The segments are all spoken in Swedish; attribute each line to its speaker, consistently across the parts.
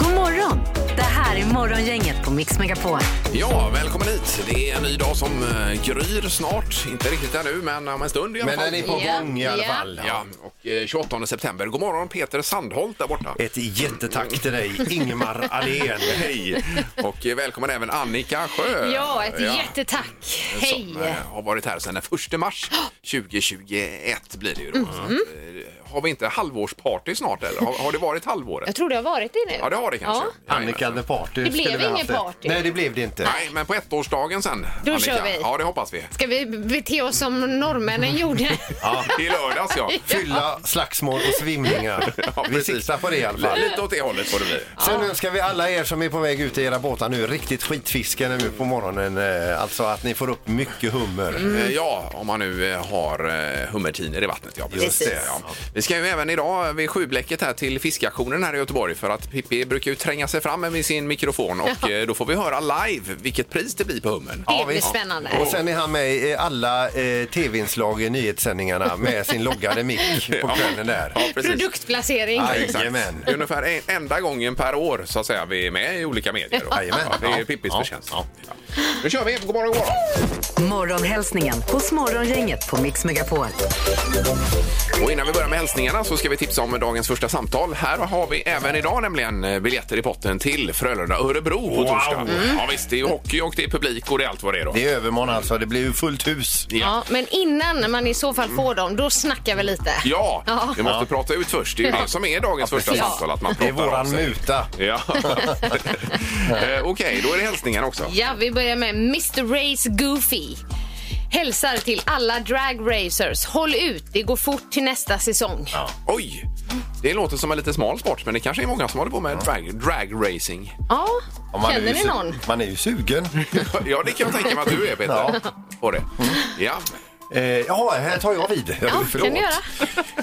Speaker 1: God morgon! Det här är Morgongänget på Mix Megapol.
Speaker 2: Ja, välkommen hit. Det är en ny dag som eh, gryr snart. Inte riktigt ännu, men om en stund i alla
Speaker 3: Men
Speaker 2: fall.
Speaker 3: den är på
Speaker 1: Ja,
Speaker 3: gång i alla
Speaker 1: ja.
Speaker 3: fall.
Speaker 2: Ja, och eh, 28 september. God morgon Peter Sandholt där borta.
Speaker 3: Ett jättetack till dig, Ingmar Ahlén.
Speaker 2: Hej! Och eh, välkommen även Annika Sjö.
Speaker 4: Ja, ett jättetack. Hej!
Speaker 2: Som eh, har varit här sedan den 1 mars 2021 blir det ju då. Så att, eh, har vi inte halvårsparty snart eller? Har, har det varit halvåret?
Speaker 4: Jag tror det har varit det nu.
Speaker 2: Ja, det har det kanske.
Speaker 4: Ja.
Speaker 2: Jajamän.
Speaker 3: Annika the party.
Speaker 4: Det blev
Speaker 3: skulle vi
Speaker 4: ingen
Speaker 3: haft det.
Speaker 4: party.
Speaker 3: Nej, det blev det inte.
Speaker 2: Nej, men på ettårsdagen sen,
Speaker 4: Då
Speaker 2: Annika.
Speaker 4: kör vi.
Speaker 2: Ja, det hoppas vi.
Speaker 4: Ska vi bete oss som norrmännen gjorde?
Speaker 3: Ja.
Speaker 2: I lördags ja.
Speaker 3: Fylla, slagsmål och svimningar. vi
Speaker 2: precis.
Speaker 3: siktar på det i alla fall.
Speaker 2: Lite åt det hållet får det bli.
Speaker 3: Sen önskar vi alla er som är på väg ut i era båtar nu riktigt skitfiske nu på morgonen. eh, Alltså att ni får upp mycket hummer.
Speaker 4: Mm.
Speaker 2: Eh, Ja, om man nu eh, har eh, hummertiner i vattnet. Ja, precis.
Speaker 3: Precis.
Speaker 2: Det, ja. Vi ska ju även idag vid sjublecket här till fiskaktionen här i Göteborg för att Pippi brukar ju tränga sig fram med sin mikrofon och eh, då får vi höra live vilket pris det blir på hummern.
Speaker 4: Det blir
Speaker 3: visst.
Speaker 4: spännande.
Speaker 3: Och sen är han med i alla eh, tv-inslag i nyhetssändningarna med sin loggade mick på kvällen där.
Speaker 2: Ja, precis.
Speaker 4: Produktplacering.
Speaker 2: Ja, exakt.
Speaker 3: Jajamän.
Speaker 2: Det är ungefär en, enda gången per år så att säga vi är med i olika medier. då.
Speaker 3: Jajamän.
Speaker 2: Ja, det är
Speaker 3: Ja.
Speaker 2: Pippis
Speaker 3: Ja.
Speaker 2: förtjänst. Ja. Nu kör vi! God morgon, god morgon!
Speaker 1: Morgonhälsningen hos Morgongänget på Mix Megapol.
Speaker 2: Och innan vi börjar med hälsningarna så ska vi tipsa om dagens första samtal. Här har vi även idag nämligen eh, biljetter i potten till Frölunda Örebro på torsdag. Ja visst, det är ju hockey och det är publik och det är allt vad det är då.
Speaker 3: Det är övermorgon alltså, det blir ju fullt hus.
Speaker 4: Ja, men innan man i så fall får dem, då snackar vi lite.
Speaker 2: Ja,
Speaker 4: Ja.
Speaker 2: vi måste prata ut först. Det är ju det som är dagens första
Speaker 4: precis.
Speaker 2: samtal, att man
Speaker 3: Det är
Speaker 2: pratar av
Speaker 3: våran
Speaker 2: sig.
Speaker 3: muta.
Speaker 2: Ja. Eh, Okej, då är det hälsningar också.
Speaker 4: Ja, vi börjar med Mr Race Goofy. Hälsar till alla drag racers. Håll ut, det går fort till nästa säsong. Ja,
Speaker 2: Oj! Det låter som en lite smal sport, men det kanske är många som håller på med drag, drag racing.
Speaker 3: Ja, man är
Speaker 4: känner
Speaker 3: ju
Speaker 4: ni
Speaker 3: su-
Speaker 4: någon?
Speaker 3: Man är ju sugen.
Speaker 2: Ja, det kan jag tänka mig att du är, Peter. På det. Ja.
Speaker 3: Eh, jaha, här tar jag vid.
Speaker 4: Ja, kan du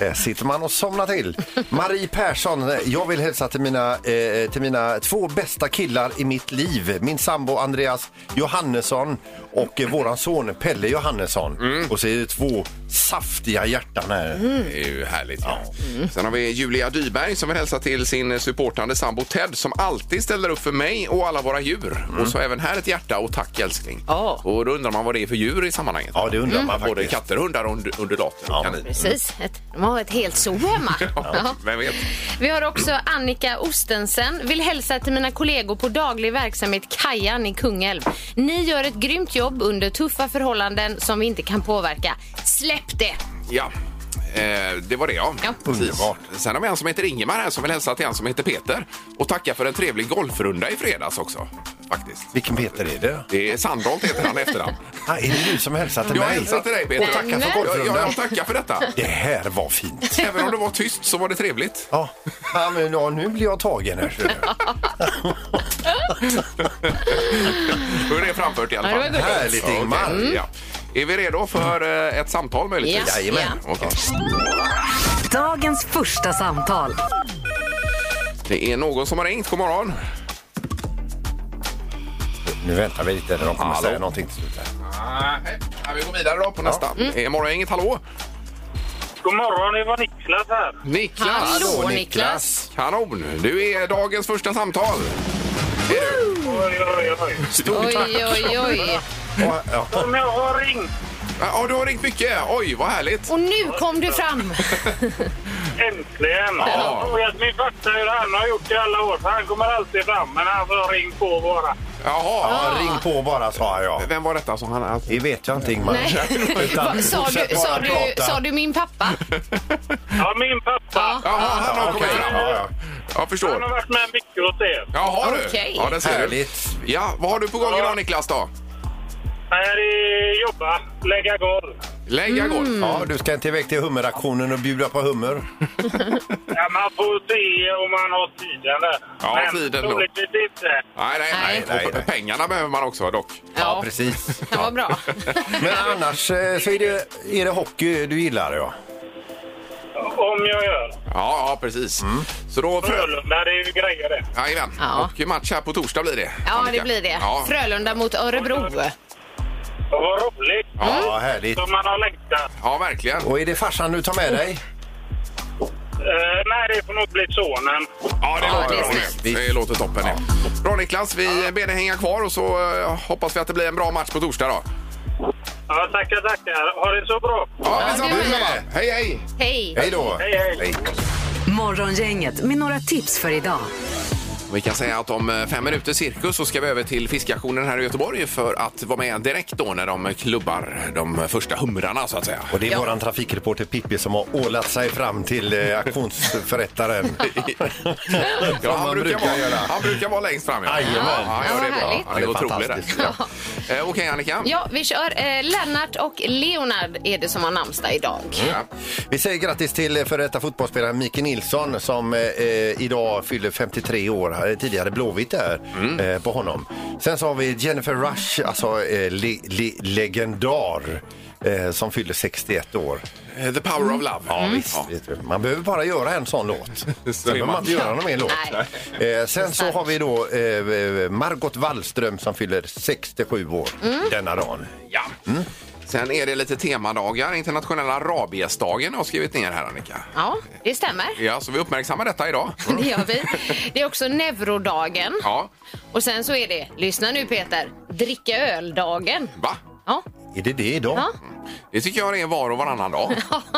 Speaker 3: Eh, sitter man och somnar till. Marie Persson, eh, jag vill hälsa till mina, eh, till mina två bästa killar i mitt liv. Min sambo Andreas Johannesson och eh, våran son Pelle Johannesson.
Speaker 4: Mm.
Speaker 3: Och så är det två saftiga hjärtan här.
Speaker 2: Det är ju härligt. Ja.
Speaker 3: Mm.
Speaker 2: Sen har vi Julia Dyberg som vill hälsa till sin eh, supportande sambo Ted som alltid ställer upp för mig och alla våra djur.
Speaker 3: Mm.
Speaker 2: Och så även här ett hjärta och tack älskling.
Speaker 4: Ja.
Speaker 2: Och då undrar man vad det är för djur i sammanhanget. Mm.
Speaker 3: Ja, det undrar man
Speaker 2: Både
Speaker 3: faktiskt.
Speaker 2: katter, hundar och und- undulater.
Speaker 3: Ja.
Speaker 2: Kanin.
Speaker 4: Precis. Ett, de har ett helt zoo hemma. Ja.
Speaker 2: Vem vet?
Speaker 4: Vi har också Annika Ostensen. Vill hälsa till mina kollegor på daglig verksamhet Kajan i Kungälv. Ni gör ett grymt jobb under tuffa förhållanden som vi inte kan påverka. Släpp det!
Speaker 2: Ja. Eh, det var det ja.
Speaker 4: Ja.
Speaker 2: Precis.
Speaker 3: Underbart.
Speaker 2: Sen har vi en som heter Ingemar här som vill hälsa till en som heter Peter och tacka för en trevlig golfrunda i fredags också. Faktiskt.
Speaker 3: Vilken Peter är det?
Speaker 2: Det är Sandholt heter han i efternamn.
Speaker 3: Ah, är det du som hälsar till
Speaker 2: Jag
Speaker 3: mig?
Speaker 2: hälsar till dig Peter.
Speaker 3: Och tackar
Speaker 4: Nej.
Speaker 3: för
Speaker 2: Ja,
Speaker 3: golfrundan.
Speaker 2: jag tackar för detta.
Speaker 3: Det här var fint.
Speaker 2: Även om det var tyst så var det trevligt.
Speaker 3: Ja, ja, men, ja nu blir jag tagen här.
Speaker 2: Då är det framfört i alla
Speaker 4: Ja, det
Speaker 2: fall.
Speaker 4: var gulligt. Mm.
Speaker 3: Härligt, Ingmar.
Speaker 2: okej, Ja. Är vi redo för eh, ett samtal möjligtvis?
Speaker 4: Ja. Jajamän.
Speaker 2: Okej.
Speaker 1: Dagens första samtal.
Speaker 2: Det är någon som har ringt. God morgon.
Speaker 3: Nu väntar vi lite, de kommer
Speaker 2: Hallå.
Speaker 3: säga någonting till slut. här.
Speaker 2: Ja, vi går vidare då på nästa. Mm. Morgon, inget hallå?
Speaker 5: God morgon, det var Niklas här.
Speaker 2: Niklas.
Speaker 4: Hallå, Niklas!
Speaker 2: Kanon! Du är dagens första samtal. Är du?
Speaker 5: Oj, oj, oj.
Speaker 3: Stort
Speaker 4: Oj,
Speaker 3: tack!
Speaker 4: oj, oj.
Speaker 3: Ja, ja.
Speaker 5: Om jag har ringt
Speaker 2: Ja, du har ringt mycket. Oj, vad härligt.
Speaker 4: Och nu kom du fram!
Speaker 5: äntligen.
Speaker 2: Ja.
Speaker 5: Jag tror att min fakta hur han har gjort i alla år. för Han kommer alltid fram, men han får ring på bara.
Speaker 2: Jaha.
Speaker 4: Ah.
Speaker 3: Ja, ring på bara, sa jag.
Speaker 2: Vem var detta som han... Alltså,
Speaker 3: Det vet jag inte, Ingmar.
Speaker 4: Nej.
Speaker 3: Utan
Speaker 4: Sa
Speaker 3: fortsätt
Speaker 4: du,
Speaker 3: bara
Speaker 4: sa, du,
Speaker 3: prata.
Speaker 4: sa du min pappa?
Speaker 5: Ja, min pappa.
Speaker 2: Jaha, han har
Speaker 3: Ja,
Speaker 2: kommit
Speaker 3: okej.
Speaker 2: fram.
Speaker 3: Ja, ja.
Speaker 2: Jag
Speaker 5: Han har
Speaker 2: förstår.
Speaker 5: varit med mycket åt er.
Speaker 2: Jaha, du.
Speaker 4: Okej.
Speaker 2: Ja, det ser
Speaker 3: Härligt.
Speaker 2: Du. Ja, vad har du på gång idag, Niklas? då?
Speaker 5: Här är jobba, lägga golv.
Speaker 2: Lägga
Speaker 4: Mm.
Speaker 2: golf. Ja.
Speaker 3: Ja, du ska inte iväg till hummeraktionen och bjuda på hummer.
Speaker 5: Ja, man får se om man har tiden där.
Speaker 2: Ja, tiden då.
Speaker 5: troligtvis inte.
Speaker 2: Nej, nej, nej.
Speaker 4: Nej.
Speaker 2: Och
Speaker 3: Nej, nej.
Speaker 2: Pengarna behöver man också dock.
Speaker 3: Ja, precis.
Speaker 4: Det var bra.
Speaker 3: Men annars eh, så är det, är det hockey du gillar, ja.
Speaker 5: Om jag gör.
Speaker 2: Ja, ja precis. Så då... Frö...
Speaker 5: Frölunda, det är ju grejer det.
Speaker 2: Jajamän.
Speaker 4: Ja.
Speaker 2: Och match här på torsdag blir det.
Speaker 4: Ja, det
Speaker 2: Annika.
Speaker 4: blir det.
Speaker 2: Ja.
Speaker 4: Frölunda mot Örebro.
Speaker 5: Och Vad roligt
Speaker 4: Mm.
Speaker 3: Ja, härligt.
Speaker 5: som man har längtat.
Speaker 2: ja, verkligen.
Speaker 3: Och är det farsan du tar med dig?
Speaker 5: Eh, nej, det får nog bli sonen.
Speaker 2: Ja, det
Speaker 4: Ja,
Speaker 2: låter
Speaker 4: det är
Speaker 2: bra.
Speaker 4: snällt.
Speaker 2: Det, det låter toppen. det. Bra Niklas, vi ber dig hänga kvar och så eh, hoppas vi att det blir en bra match på torsdag då.
Speaker 5: Ja, tackar, tackar. Ha det så bra.
Speaker 2: Ja, detsamma.
Speaker 4: det är
Speaker 2: detsamma. Hej, hej!
Speaker 4: Hej!
Speaker 3: Hej då!
Speaker 5: Hej, hej.
Speaker 1: Morgongänget med några tips för idag.
Speaker 2: Vi kan säga att om eh, fem minuter cirkus så ska vi över till fiskaktionen här i Göteborg för att vara med direkt då när de klubbar de första humrarna så att säga.
Speaker 3: Och det är våran trafikreporter Pippi som har ålat sig fram till eh, auktionsförrättaren.
Speaker 2: Ja,
Speaker 3: Som man brukar
Speaker 2: vara,
Speaker 3: göra.
Speaker 2: Han brukar vara längst fram. Ja,
Speaker 3: Jajamän.
Speaker 2: ja, ja, det är
Speaker 4: Ja,
Speaker 2: bra.
Speaker 4: härligt.
Speaker 2: Han är
Speaker 3: Ja, det är
Speaker 2: otrolig där.
Speaker 3: fantastiskt.
Speaker 2: Ja. Eh, Okej, Annika.
Speaker 4: Ja, vi kör. Eh, Lennart och Leonard är det som har namnsdag idag.
Speaker 2: Ja.
Speaker 3: Vi säger grattis till eh, före detta fotbollsspelaren Micke Nilsson som eh, eh, idag fyller 53 år. Eh, Tidigare Blåvitt där
Speaker 2: Mm.
Speaker 3: eh, på honom. Sen så har vi Jennifer Rush, alltså eh, le, le, legendar. eh, Som fyller 61 år.
Speaker 2: Eh, The power of love. Ja,
Speaker 4: Mm.
Speaker 2: visst.
Speaker 3: Vet du, Man behöver bara göra en sån låt.
Speaker 2: Just det.
Speaker 3: Sen behöver man inte göra någon mer låt. Eh, sen så har vi då eh, Margot Wallström som fyller 67 år denna dagen.
Speaker 2: Ja. Mm. Sen är det lite temadagar. Internationella rabiesdagen har jag skrivit ner här, Annika.
Speaker 4: Ja, det stämmer.
Speaker 2: Ja, så vi uppmärksammar detta idag.
Speaker 4: Det gör vi. Det är också neurodagen.
Speaker 2: Ja.
Speaker 4: Och sen så är det, lyssna nu Peter, dricka öldagen.
Speaker 2: Va?
Speaker 4: Ja,
Speaker 3: Är det det idag?
Speaker 4: ja.
Speaker 2: Det tycker jag det är var och varannan dag.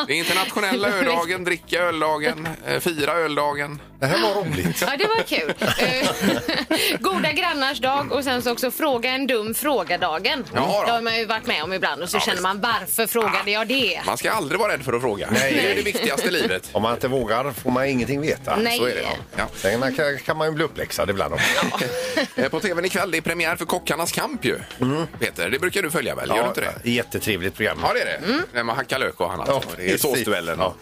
Speaker 2: Det är internationella öldagen, dricka öldagen, eh, fira öldagen.
Speaker 3: Det här var roligt.
Speaker 4: ja det var kul. Eh, Goda grannars dag och sen så också fråga en dum fråga-dagen.
Speaker 2: Jaha då.
Speaker 4: Det har man ju varit med om ibland och så
Speaker 2: Ja,
Speaker 4: känner
Speaker 2: visst.
Speaker 4: man varför frågade jag det?
Speaker 2: Man ska aldrig vara rädd för att fråga.
Speaker 3: Nej.
Speaker 2: Det är det viktigaste i livet.
Speaker 3: Om man inte vågar får man ingenting veta.
Speaker 4: Nej.
Speaker 3: Så är det. Ja.
Speaker 2: Ja.
Speaker 3: Sen man kan, kan man ju bli uppläxad ibland också.
Speaker 2: Eh, På tvn ikväll, det är premiär för Kockarnas kamp ju.
Speaker 3: Mm.
Speaker 2: Peter, det brukar du följa väl? Gör du inte det?
Speaker 3: Jättetrevligt program.
Speaker 2: Ja, det är det. När man hackar lök och annat.
Speaker 3: Mm. Ja,
Speaker 2: det är
Speaker 3: precis.
Speaker 2: såsduellen. Ja.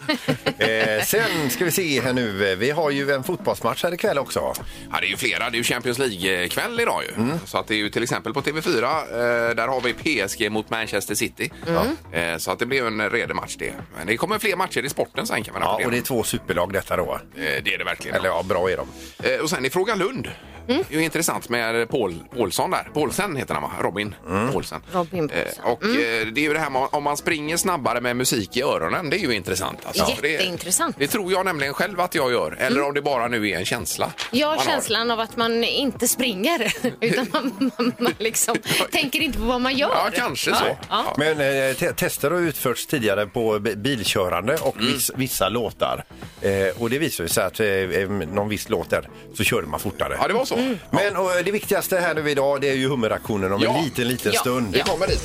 Speaker 3: eh, sen ska vi se här nu. eh, Vi har ju en fotbollsmatch här ikväll också.
Speaker 2: det är ju flera. Det är ju Champions League-kväll idag ju.
Speaker 3: Mm.
Speaker 2: Så att det är ju till exempel på TV4. Eh, där har vi PSG mot Manchester City.
Speaker 3: Mm.
Speaker 2: Eh, så att det blir en redig match det. Men det kommer fler matcher i sporten sen kan man
Speaker 3: Ja,
Speaker 2: rapportera.
Speaker 3: och det är två superlag detta då.
Speaker 2: Eh, det är det verkligen.
Speaker 3: Eller ja, bra är de.
Speaker 2: Eh, Och sen i Fråga Lund.
Speaker 4: Mm.
Speaker 2: Det är ju intressant med Paul, Paulsson där. Paulsen heter han va? Robin Paulsen.
Speaker 4: Mm. Robin
Speaker 2: Eh,
Speaker 4: Paulsen. Mm.
Speaker 2: och eh, det är ju det här med om man springer snabbare med musik i öronen. Det är ju intressant. Alltså. För
Speaker 4: Jätteintressant. Mm.
Speaker 2: Det, det tror jag nämligen själv att jag gör. Eller om det bara nu är en känsla.
Speaker 4: Jag
Speaker 2: man
Speaker 4: har
Speaker 2: har.
Speaker 4: känslan av att man inte springer utan man, man, man liksom tänker inte på vad man gör.
Speaker 2: Ja, kanske så.
Speaker 4: Ja.
Speaker 3: Men eh, te- tester har utförts tidigare på bi- bilkörande och
Speaker 2: Mm.
Speaker 3: viss, vissa låtar. Eh, och det visar ju sig att eh, eh, någon viss låt där så körde man fortare.
Speaker 2: Ja, det var så.
Speaker 4: Mm.
Speaker 3: Men och, eh, det viktigaste här nu idag det är ju hummeraktionen om
Speaker 2: Ja.
Speaker 3: en liten, liten
Speaker 4: Ja.
Speaker 3: stund.
Speaker 2: Vi kommer dit.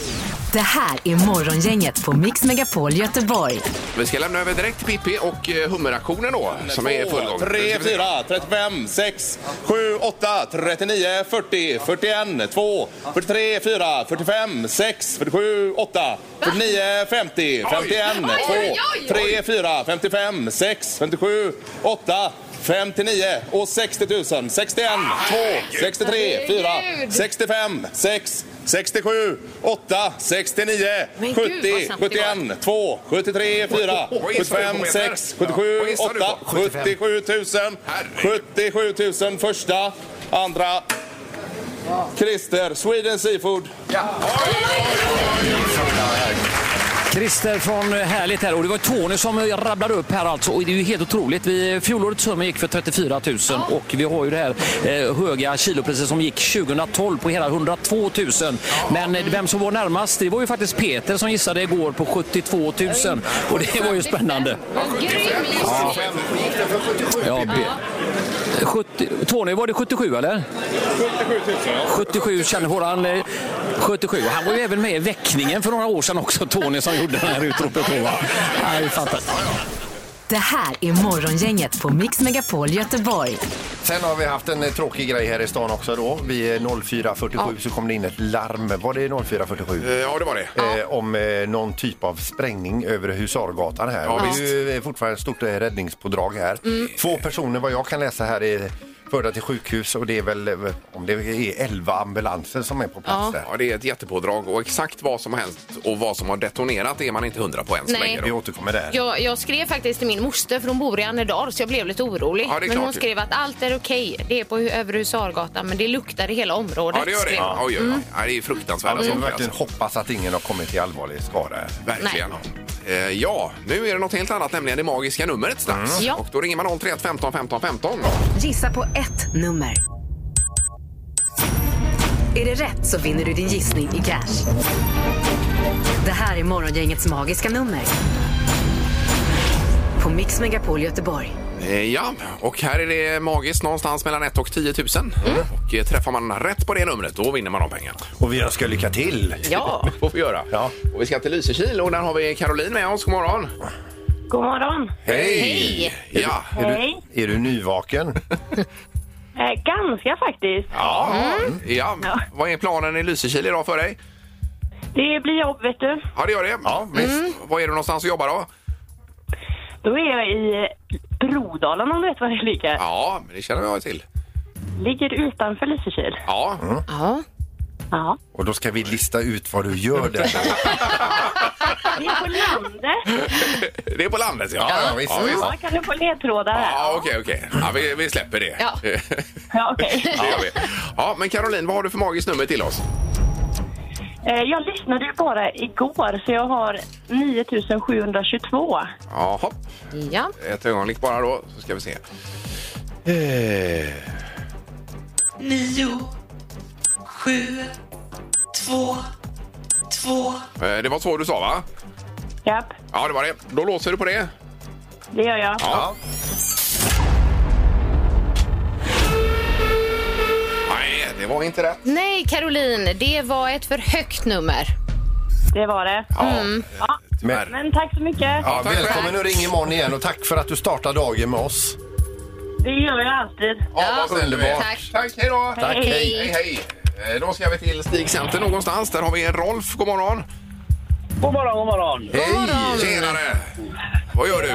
Speaker 1: Det här är Morgongänget på Mix Megapol Göteborg.
Speaker 2: Vi ska lämna över direkt till Pippi och eh, hummeraktionen då, som är i full gång. Nu
Speaker 6: 3,
Speaker 2: ska vi se.
Speaker 6: 4, 35, 6, 7, 8, 39, 40, 41, 2, 43, 4, 45, 6, 47, 8, 49, 50, 51,
Speaker 4: Oj,
Speaker 6: 2,
Speaker 4: oj, oj.
Speaker 6: 3, 4, 55, 6, 57, 8, 59 och 60 000, 61, 2, 63, 4,
Speaker 4: Herregud.
Speaker 6: 65, 6, 67, 8, 69,
Speaker 4: Men gud,
Speaker 6: 70,
Speaker 4: vad snabbt det
Speaker 6: 71, 2, 73, 4,
Speaker 2: Vad gissar du
Speaker 6: 75,
Speaker 2: på, Peter?
Speaker 6: 6,
Speaker 2: Vad
Speaker 6: 77,
Speaker 2: gissar du på?
Speaker 6: 8, 77 000.
Speaker 2: Herregud.
Speaker 6: 77 000 första, andra. Christer, Sweden Seafood.
Speaker 7: Christer från eh, Härligt här och det var Tony som eh, rabblade upp här alltså och det är ju helt otroligt. Vi, eh, fjolårets summa gick för 34 000 och vi har ju det här eh, höga kilopriset som gick 2012 på hela 102 000. Men eh, vem som var närmast det var ju faktiskt Peter som gissade igår på 72 000 och det var ju spännande.
Speaker 4: Men grym lista.
Speaker 7: Ja, Pe- 70, Tony, var det 77 eller? 77 000 känner våran... eh, 77. Och Han var ju även med i väckningen för några år sedan också, Tony som gjorde det här utropet. då, va? Ja, det är fantastiskt.
Speaker 1: Det här är Morgongänget på Mix Megapol Göteborg.
Speaker 3: Sen har vi haft en eh, tråkig grej här i stan också då. Vid eh, 04.47 så kom det in ett larm. Var det 04.47?
Speaker 2: Eh, Ja, det var det.
Speaker 3: eh, om eh, någon typ av sprängning över Husargatan här.
Speaker 2: Ja,
Speaker 3: Och
Speaker 2: visst.
Speaker 3: det är ju eh, fortfarande ett stort eh, räddningspådrag här. Två personer vad jag kan läsa här är förda till sjukhus och det är väl eh, om det är 11 ambulanser som är på plats där.
Speaker 2: Ja, det är ett jättepådrag och exakt vad som har hänt och vad som har detonerat är man inte hundra på än så
Speaker 4: Nej.
Speaker 2: länge.
Speaker 3: Vi
Speaker 2: Då.
Speaker 3: återkommer där.
Speaker 4: Jag, jag skrev faktiskt till min moster, för hon bor i Annedal, så jag blev lite orolig.
Speaker 2: Ja, det är
Speaker 4: men
Speaker 2: klart
Speaker 4: hon
Speaker 2: ju.
Speaker 4: skrev att allt är okej. Det är på hu- Övre Husargatan, men det luktar i hela området.
Speaker 2: Ja, det gör det.
Speaker 4: skrev hon.
Speaker 2: Ja, oj, oj, oj. Ja, det är fruktansvärt.
Speaker 3: Alltså,
Speaker 2: Mm.
Speaker 3: verkligen hoppas att ingen har kommit till allvarlig skada. här.
Speaker 2: Verkligen. Eh, Ja, nu är det något helt annat, nämligen det magiska numret strax.
Speaker 4: Ja.
Speaker 2: Och då ringer man 031 15 15 15.
Speaker 1: Gissa på ett nummer. Är det rätt så vinner du din gissning i cash. Det här är Morgongängets magiska nummer. På Mix Megapol Göteborg.
Speaker 2: Eh, Ja, och här är det magiskt någonstans mellan 1 och 10 000. Och eh, träffar man rätt på det numret, då vinner man de pengarna.
Speaker 3: Och vi önskar lycka till!
Speaker 4: Ja.
Speaker 2: Det får vi göra.
Speaker 3: Ja.
Speaker 2: Och vi ska till Lysekil och där har vi Caroline med oss. God morgon!
Speaker 5: God morgon.
Speaker 3: Hej!
Speaker 4: Hej!
Speaker 2: Ja,
Speaker 3: Är, du, är du nyvaken?
Speaker 5: Eh, ganska faktiskt.
Speaker 2: ja. Mm. ja. Vad är planen i Lysekil idag för dig?
Speaker 5: Det blir jobb, vet du. Mm.
Speaker 2: Ja, det gör det. Ja, visst. Var är du någonstans och jobbar då?
Speaker 5: Då är jag i Brodalen om du vet var det ligger.
Speaker 2: Ja, men det känner jag till.
Speaker 5: Ligger utanför Lysekil.
Speaker 2: Ja,
Speaker 4: Ja.
Speaker 5: Ja.
Speaker 3: Mm. Och då ska vi lista ut vad du gör där.
Speaker 5: Det är på landet.
Speaker 2: det är på landet. Ja,
Speaker 3: Ja, visst.
Speaker 2: Ja,
Speaker 5: Ja, kan du få ledtrådar här?
Speaker 2: Ja, okej, okej. Ja, vi, vi släpper det.
Speaker 4: Ja.
Speaker 5: Ja, okej.
Speaker 2: det gör vi. Ja, men Caroline, vad har du för magiskt nummer till oss?
Speaker 5: Eh, Jag lyssnade ju bara igår, så jag har 9722.
Speaker 2: Jaha,
Speaker 4: ja.
Speaker 2: ett ögonblick bara då, så ska vi se. Eh.
Speaker 8: Nio, sju, två, två.
Speaker 2: Eh, Det var så du sa, va?
Speaker 5: Japp,
Speaker 2: Ja, det var det. Då låser du på det.
Speaker 5: det gör jag.
Speaker 2: Ja. Nej, det var inte rätt.
Speaker 4: Nej, Caroline, det var ett för högt nummer. Mm.
Speaker 5: Det var det.
Speaker 2: Ja,
Speaker 5: Ja.
Speaker 2: tyvärr.
Speaker 5: Men tack så mycket.
Speaker 2: Ja, tack själv.
Speaker 3: Välkommen och ring imorgon igen och tack för att du startar dagen med oss.
Speaker 5: Det gör jag alltid.
Speaker 2: Ja, vad snäll du är.
Speaker 4: Tack.
Speaker 2: Tack, hej då.
Speaker 3: Tack, hej.
Speaker 2: Hej, hej. Eh, Då ska vi till Stig Center någonstans. Där har vi Rolf. God morgon.
Speaker 5: God morgon, god morgon.
Speaker 3: Hej!
Speaker 2: Tjenare. Vad gör du?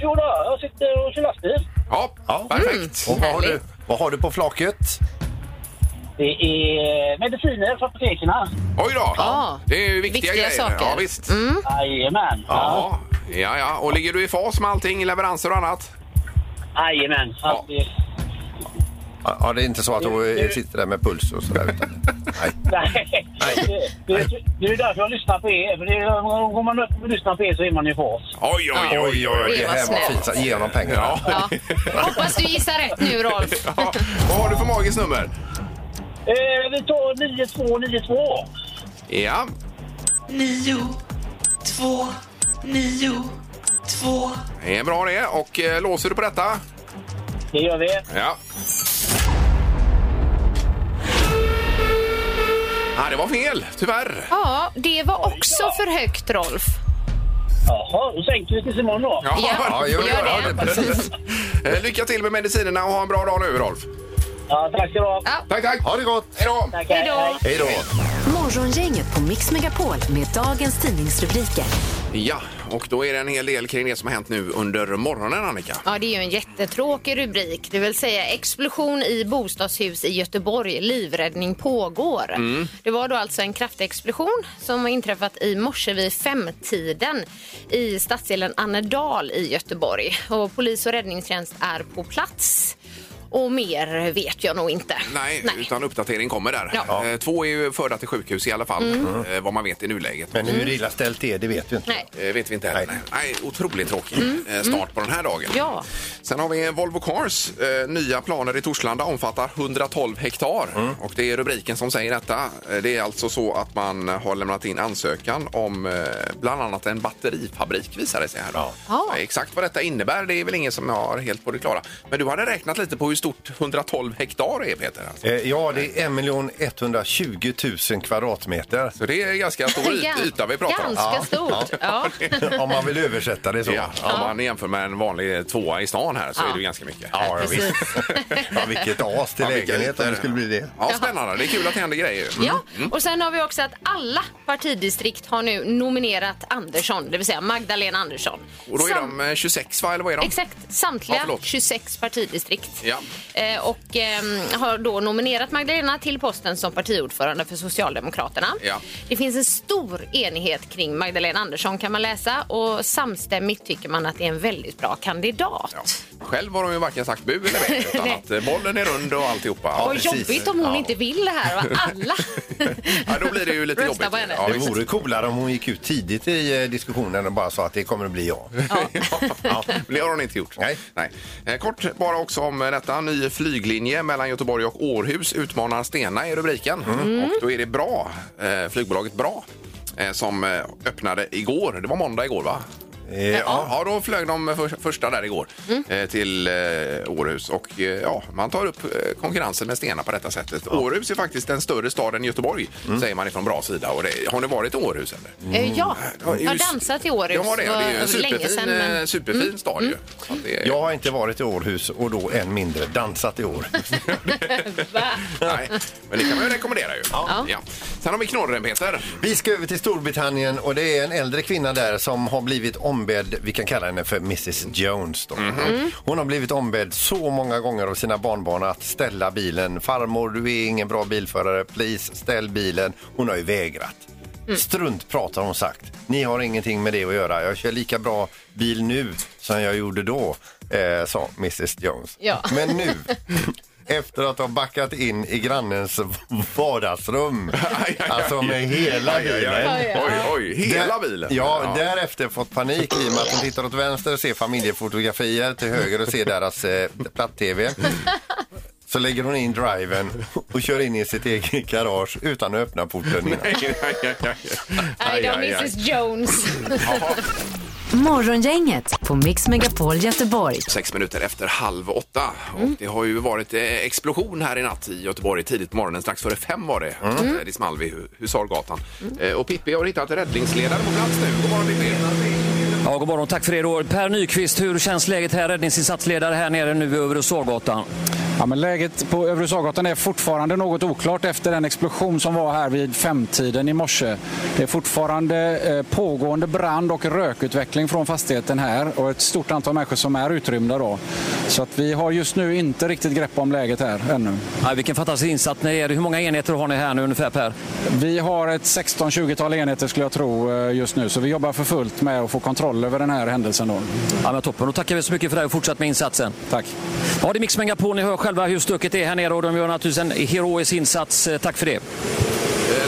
Speaker 5: Jo då, jag sitter och kör lastbil.
Speaker 2: Ja, Mm.
Speaker 3: Ja.
Speaker 2: perfekt.
Speaker 3: Och vad har, du,
Speaker 4: Härligt.
Speaker 3: vad har du på flaket?
Speaker 5: Det är mediciner från apoteken.
Speaker 2: Oj då.
Speaker 4: Ja.
Speaker 2: Det är ju
Speaker 4: Viktiga
Speaker 2: viktiga, grejer.
Speaker 4: saker. Mm.
Speaker 2: Ja, visst.
Speaker 5: Jajamän.
Speaker 2: Ja. Ja, ja. Och ligger du i fas med allting? Leveranser och annat?
Speaker 5: Jajamän.
Speaker 2: Ja.
Speaker 3: Ja, det är inte så att du eh, sitter där med puls och sådär. utan- Nej.
Speaker 5: Nej.
Speaker 3: Nej.
Speaker 5: Det, det, det är därför jag lyssnar på er. För det, går man upp och lyssnar på er så är man ju på oss.
Speaker 2: Oj, oj, oj. oj.
Speaker 3: Det
Speaker 4: var
Speaker 3: här var
Speaker 4: snällt.
Speaker 3: fint. Ge honom pengarna.
Speaker 2: Ja.
Speaker 4: Ja. Hoppas du gissar rätt nu, Rolf.
Speaker 2: Ja. Vad har du för magiskt nummer?
Speaker 5: Eh, vi tar 9292.
Speaker 2: Ja.
Speaker 8: Nio, två, nio, två.
Speaker 2: Det är bra det. Och eh, låser du på detta?
Speaker 5: Det gör vi.
Speaker 2: Ja. Ah, det var fel, tyvärr.
Speaker 4: Ja, det var också för högt, Rolf.
Speaker 5: Jaha, då sänker vi tills imorgon då.
Speaker 2: Ja,
Speaker 3: Ja, gör det. Ja, det är precis.
Speaker 2: Eh, Lycka till med medicinerna och ha en bra dag nu, Rolf.
Speaker 5: Ja, tack ska du ha.
Speaker 2: Tack, tack.
Speaker 3: Ha det gott!
Speaker 2: Hej då.
Speaker 5: Tack,
Speaker 4: Hej då.
Speaker 3: Hej då!
Speaker 1: Morgongänget på Mix Megapol med dagens tidningsrubriker.
Speaker 2: Ja, och då är det en hel del kring det som har hänt nu under morgonen, Annika.
Speaker 4: Ja, det är ju en jättetråkig rubrik. Det vill säga explosion i bostadshus i Göteborg. Livräddning pågår.
Speaker 2: Mm.
Speaker 4: Det var då alltså en kraftig explosion som har inträffat i morse vid femtiden i stadsdelen Annedal i Göteborg. Och polis och räddningstjänst är på plats. Och mer vet jag nog inte.
Speaker 2: Nej, utan uppdatering kommer där.
Speaker 4: Ja.
Speaker 2: Eh, Två är ju förda till sjukhus i alla fall, eh, vad man vet i nuläget.
Speaker 3: Men hur illa ställt det är, det vet vi inte.
Speaker 4: Nej. Mm.
Speaker 2: Eh, vet vi inte heller. Nej.
Speaker 3: Nej.
Speaker 2: otroligt tråkig eh, start på den här dagen.
Speaker 4: Ja.
Speaker 2: Sen har vi Volvo Cars eh, nya planer i Torslanda omfattar 112 hektar.
Speaker 4: Mm.
Speaker 2: Och det är rubriken som säger detta. Eh, Det är alltså så att man har lämnat in ansökan om eh, bland annat en batterifabrik visar det sig här. Då.
Speaker 4: Ja.
Speaker 2: Eh, Exakt vad detta innebär det är väl ingen som har helt på det klara. Men du hade räknat lite på hur stort 112 hektar är Peter? Alltså.
Speaker 3: Eh, Ja, det är 1 120 000 kvadratmeter.
Speaker 2: Så det är ganska stor yt- yta vi pratar om.
Speaker 4: Ganska stort. Ja.
Speaker 3: Om man vill översätta det så.
Speaker 2: Ja, om man jämför med en vanlig tvåa i stan här så är det ju ganska mycket.
Speaker 3: Ja, ja, visst. ja, vilket as till
Speaker 2: Ja, vilka
Speaker 3: lägenhet om
Speaker 2: ytor.
Speaker 3: det skulle bli det.
Speaker 2: Ja, spännande. Det är kul att det händer grejer.
Speaker 4: Ja,
Speaker 2: mm.
Speaker 4: och sen har vi också att alla partidistrikt har nu nominerat Andersson, det vill säga Magdalena Andersson.
Speaker 2: Och då är
Speaker 4: Sam-
Speaker 2: de eh, 26 va, eller vad är de?
Speaker 4: Exakt, samtliga
Speaker 2: Ja, förlåt.
Speaker 4: 26 partidistrikt.
Speaker 2: Ja.
Speaker 4: Eh, och ehm, har då nominerat Magdalena till posten som partiordförande för Socialdemokraterna.
Speaker 2: Ja.
Speaker 4: Det finns en stor enighet kring Magdalena Andersson kan man läsa och samstämmigt tycker man att det är en väldigt bra kandidat.
Speaker 2: Ja. Själv har de ju varken sagt bu eller bä, utan
Speaker 4: Nej.
Speaker 2: att eh, bollen är rund och alltihopa.
Speaker 4: Vad
Speaker 2: Ja,
Speaker 4: jobbigt om hon inte vill det här och alla
Speaker 2: Ja, då blir det ju lite
Speaker 4: röstar
Speaker 2: jobbigt.
Speaker 4: på henne.
Speaker 2: Ja,
Speaker 3: Det vore coolare om hon gick ut tidigt i eh, diskussionen och bara sa att det kommer att bli jag.
Speaker 2: Ja, men det har hon inte gjort.
Speaker 3: Nej.
Speaker 2: Nej. Eh, Kort bara också om eh, detta. Ny flyglinje mellan Göteborg och Århus utmanar Stena i rubriken.
Speaker 3: Mm.
Speaker 2: Och då är det bra, eh, flygbolaget Bra eh, som eh, öppnade igår. Det var måndag igår va?
Speaker 3: Eh, ja. Mm.
Speaker 2: Ja, då flög de för, första där igår eh, till eh, Århus. Och eh, ja, man tar upp eh, konkurrensen med Stena på detta sättet. Århus är faktiskt en större stad än Göteborg,
Speaker 3: Mm.
Speaker 2: säger man ifrån bra sida. Och det, har ni varit i Århus? Eller?
Speaker 4: Eh, Ja,
Speaker 2: Ja,
Speaker 4: jag har
Speaker 2: just-
Speaker 4: dansat i Århus.
Speaker 2: Ja, det, det är ju
Speaker 4: var
Speaker 2: en
Speaker 4: eh, länge
Speaker 2: superfin,
Speaker 4: sedan. Men... Mm.
Speaker 2: eh, superfin stad ju. Så att det,
Speaker 3: Jag har inte varit i Århus och då än mindre dansat i år.
Speaker 2: nej, men det kan man ju rekommendera ju. Ja. Sen har vi knorren Peter.
Speaker 3: Vi ska över till Storbritannien och det är en äldre kvinna där som har blivit ombedd, vi kan kalla henne för Mrs Jones. Då. Hon har blivit ombedd så många gånger av sina barnbarn att ställa bilen. Farmor, du är ingen bra bilförare, please ställ bilen. Hon har ju vägrat. Struntprat har hon sagt. Ni har ingenting med det att göra. Jag kör lika bra bil nu som jag gjorde då, eh, sa Mrs Jones.
Speaker 4: Ja.
Speaker 3: Men nu, efter att ha backat in i grannens vardagsrum,
Speaker 2: aj, aj.
Speaker 3: alltså med hela
Speaker 2: Aj, aj,
Speaker 3: bilen.
Speaker 2: aj. Oj, oj, hela
Speaker 3: Där-
Speaker 2: bilen.
Speaker 3: Ja, därefter fått panik i och med att hon tittar åt vänster och ser familjefotografier, till höger och ser deras eh, platt-tv. Så lägger hon in driven och kör in i sitt eget garage utan att öppna porten innan.
Speaker 2: Aj, aj, aj, aj.
Speaker 4: Nej,
Speaker 2: Aj,
Speaker 4: då,
Speaker 2: aj, aj.
Speaker 4: Mrs Jones.
Speaker 2: Jaha.
Speaker 1: Morgongänget på Mix Megapol Göteborg.
Speaker 2: Sex minuter efter halv åtta.
Speaker 4: Mm.
Speaker 2: Och det har ju varit eh, explosion här i natt i Göteborg tidigt på morgonen. Strax före fem var det.
Speaker 3: Mm.
Speaker 2: Eh, Det small vid Hu- Husargatan.
Speaker 4: Mm.
Speaker 2: Eh, Och Pippi har hittat räddningsledare på plats nu. God morgon Pippi!
Speaker 7: Ja, god morgon. Tack för det. då. Per Nyqvist, hur känns läget här? Räddningsinsatsledare här nere nu över Rosagatan.
Speaker 9: Ja, men läget på Övre Sagaton är fortfarande något oklart efter den explosion som var här vid femtiden i morse. Det är fortfarande eh, pågående brand och rökutveckling från fastigheten här och ett stort antal människor som är utrymda. Då. Så att vi har just nu inte riktigt grepp om läget här ännu.
Speaker 7: Ja, vilken fantastisk insats ni är. Hur många enheter har ni här nu ungefär Per?
Speaker 9: Vi har ett 16-20-tal enheter skulle jag tro eh, just nu så vi jobbar för fullt med att få kontroll över den här händelsen. Då.
Speaker 7: Ja, men toppen. Då tackar vi så mycket för det här och fortsätt med insatsen.
Speaker 9: Tack.
Speaker 7: Ja, det är Mix Megapol. Ni hör själva hur stökigt det är här nere och de gör naturligtvis en heroisk insats. Eh, Tack för det.
Speaker 2: Eh,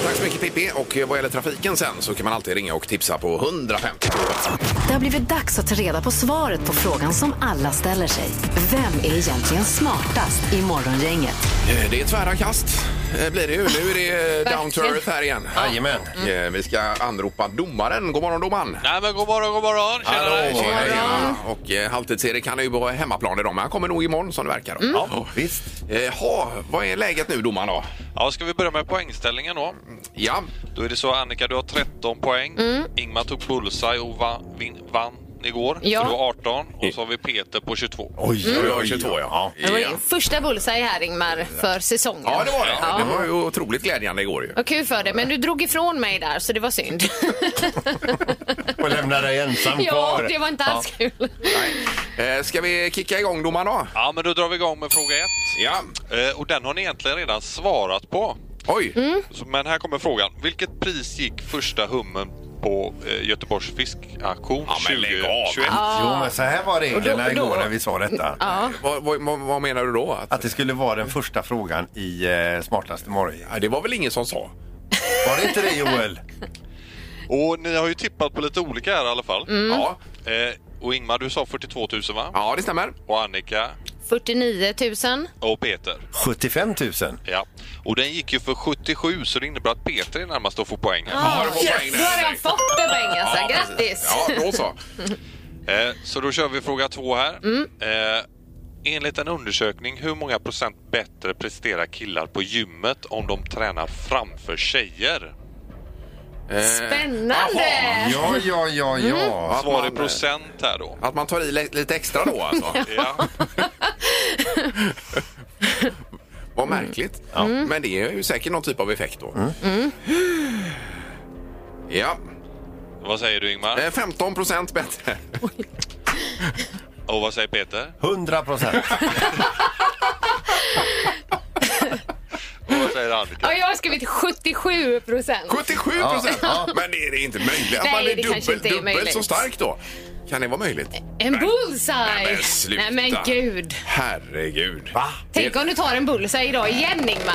Speaker 2: Tack så mycket Pippi. Och eh, vad gäller trafiken sen så kan man alltid ringa och tipsa på 150.
Speaker 1: Det har blivit dags att ta reda på svaret på frågan som alla ställer sig. Vem är egentligen smartast i Morgongänget?
Speaker 2: Eh, Det är tvära kast eh, blir det ju. Nu är det eh, down to
Speaker 4: Verkligen.
Speaker 2: earth här igen.
Speaker 3: Jajamän.
Speaker 2: Eh, Vi ska anropa domaren. God morgon domaren!
Speaker 6: Nej, men god morgon, god morgon.
Speaker 2: Hallå! Hej. Och eh, Halvtids-Erik han är ju på hemmaplan idag men han kommer nog imorgon som det verkar. Mm. Ja,
Speaker 3: Visst.
Speaker 2: Jaha, vad är läget nu domaren då?
Speaker 6: Ja, ska vi börja med poängställningen då?
Speaker 2: Ja,
Speaker 6: Då är det så Annika, du har 13 poäng.
Speaker 4: Mm.
Speaker 6: Ingmar tog bullseye och vann, vin, vann igår.
Speaker 4: Ja.
Speaker 6: Så du har 18 och så har vi Peter på 22.
Speaker 3: Oj, oj,
Speaker 2: jag är 22 ja.
Speaker 4: Det var ju
Speaker 2: Ja.
Speaker 4: första bullseye här Ingmar för säsongen.
Speaker 2: Ja, det var det.
Speaker 4: Ja.
Speaker 2: Det var ju otroligt glädjande igår ju.
Speaker 4: Vad kul för dig, men du drog ifrån mig där så det var synd.
Speaker 3: Och lämnar dig ensam
Speaker 4: ja,
Speaker 3: kvar.
Speaker 4: det var inte alls kul.
Speaker 2: Nej. Eh, Ska vi kicka igång domaren då?
Speaker 6: Ja, men då drar vi igång med fråga 1.
Speaker 2: Ja.
Speaker 6: Eh, och den har ni egentligen redan svarat på.
Speaker 2: Oj!
Speaker 4: Mm.
Speaker 6: Så, men här kommer frågan. Vilket pris gick första hummen på eh, Göteborgs fiskauktion
Speaker 2: Ja, men lägg av.
Speaker 6: 2021?
Speaker 3: Jo, men så här var reglerna
Speaker 4: Och då- och då-
Speaker 3: igår när vi sa detta.
Speaker 2: Vad, vad, vad- vad menar du då? Att,
Speaker 3: Att det skulle vara den första frågan i eh, Smartaste morgon.
Speaker 2: Ja, det var väl ingen som sa?
Speaker 3: Var det inte det Joel?
Speaker 6: Och ni har ju tippat på lite olika här i alla fall.
Speaker 4: Mm.
Speaker 2: Ja.
Speaker 6: Eh, och Ingmar, du sa 42 000 va?
Speaker 2: ja, det stämmer.
Speaker 6: Och Annika
Speaker 4: 49 000.
Speaker 6: och Peter.
Speaker 3: 75 000.
Speaker 6: Ja. Och den gick ju för 77 så det innebär att Peter är närmast att få poäng. här.
Speaker 2: Ja, du får poäng
Speaker 4: Yes,
Speaker 2: där.
Speaker 4: då har jag fått en poäng alltså.
Speaker 2: precis.
Speaker 4: Grattis!
Speaker 2: Ja, då så.
Speaker 4: Mm.
Speaker 6: Eh, så då kör vi fråga två här. Eh,
Speaker 10: Enligt en undersökning hur många procent bättre presterar killar på gymmet om de tränar framför tjejer?
Speaker 4: Spännande!
Speaker 3: Ja, ja, ja, ja.
Speaker 10: Mm. Svar
Speaker 2: eh,
Speaker 10: i procent här då.
Speaker 2: Att man tar i li- lite extra då alltså?
Speaker 10: ja.
Speaker 2: Vad märkligt.
Speaker 4: Mm.
Speaker 2: Men det är ju säkert någon typ av effekt då. Ja.
Speaker 10: Vad säger du Ingmar?
Speaker 2: Eh, 15 procent bättre.
Speaker 10: Och vad säger Peter?
Speaker 3: 100 procent.
Speaker 10: Och vad säger Annika?
Speaker 4: Ja, jag har skrivit 77 procent.
Speaker 2: 77 procent! Men det är det inte möjligt att
Speaker 4: Nej,
Speaker 2: man är
Speaker 4: det kanske
Speaker 2: dubbel,
Speaker 4: inte är
Speaker 2: dubbelt
Speaker 4: möjligt.
Speaker 2: så stark då? Kan det vara möjligt?
Speaker 4: En bullseye!
Speaker 2: Men sluta.
Speaker 4: Nej men gud.
Speaker 2: Herregud. Va?
Speaker 4: Tänk om du tar en bullseye idag igen Ingmar.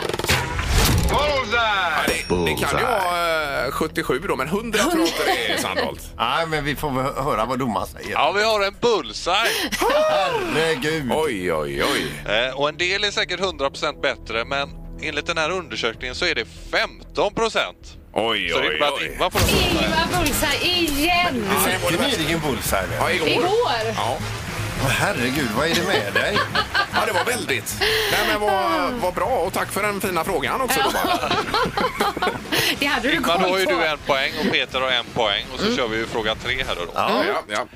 Speaker 2: Bullseye! Det, det kan ju vara eh, 77 då, men 100 tror jag inte det är Sandholt.
Speaker 3: Nej, men vi får väl höra vad domaren säger.
Speaker 10: Ja, vi har en bullseye!
Speaker 3: Herregud.
Speaker 2: Mm. Oj, oj, oj.
Speaker 10: Eh, och en del är säkert 100% bättre, men enligt den här undersökningen så är det 15%.
Speaker 2: Oj,
Speaker 10: så det är
Speaker 2: oj,
Speaker 10: inte bara att
Speaker 2: oj.
Speaker 10: Ingmar får en bullseye.
Speaker 4: Ingmar bullseye igen!
Speaker 3: Fick ni ingen bullseye?
Speaker 2: Ja, igår.
Speaker 4: Igår!
Speaker 2: Ja.
Speaker 3: Åh, herregud, vad är det med dig?
Speaker 2: ja, det var väldigt. Nej, men vad, vad bra och tack för den fina frågan också. Ja.
Speaker 4: Det hade du
Speaker 10: Men då har
Speaker 4: koll
Speaker 10: ju du
Speaker 4: på.
Speaker 10: en poäng och Peter har en poäng och så kör vi ju fråga tre här då.
Speaker 3: Mm.
Speaker 2: Ja, ja.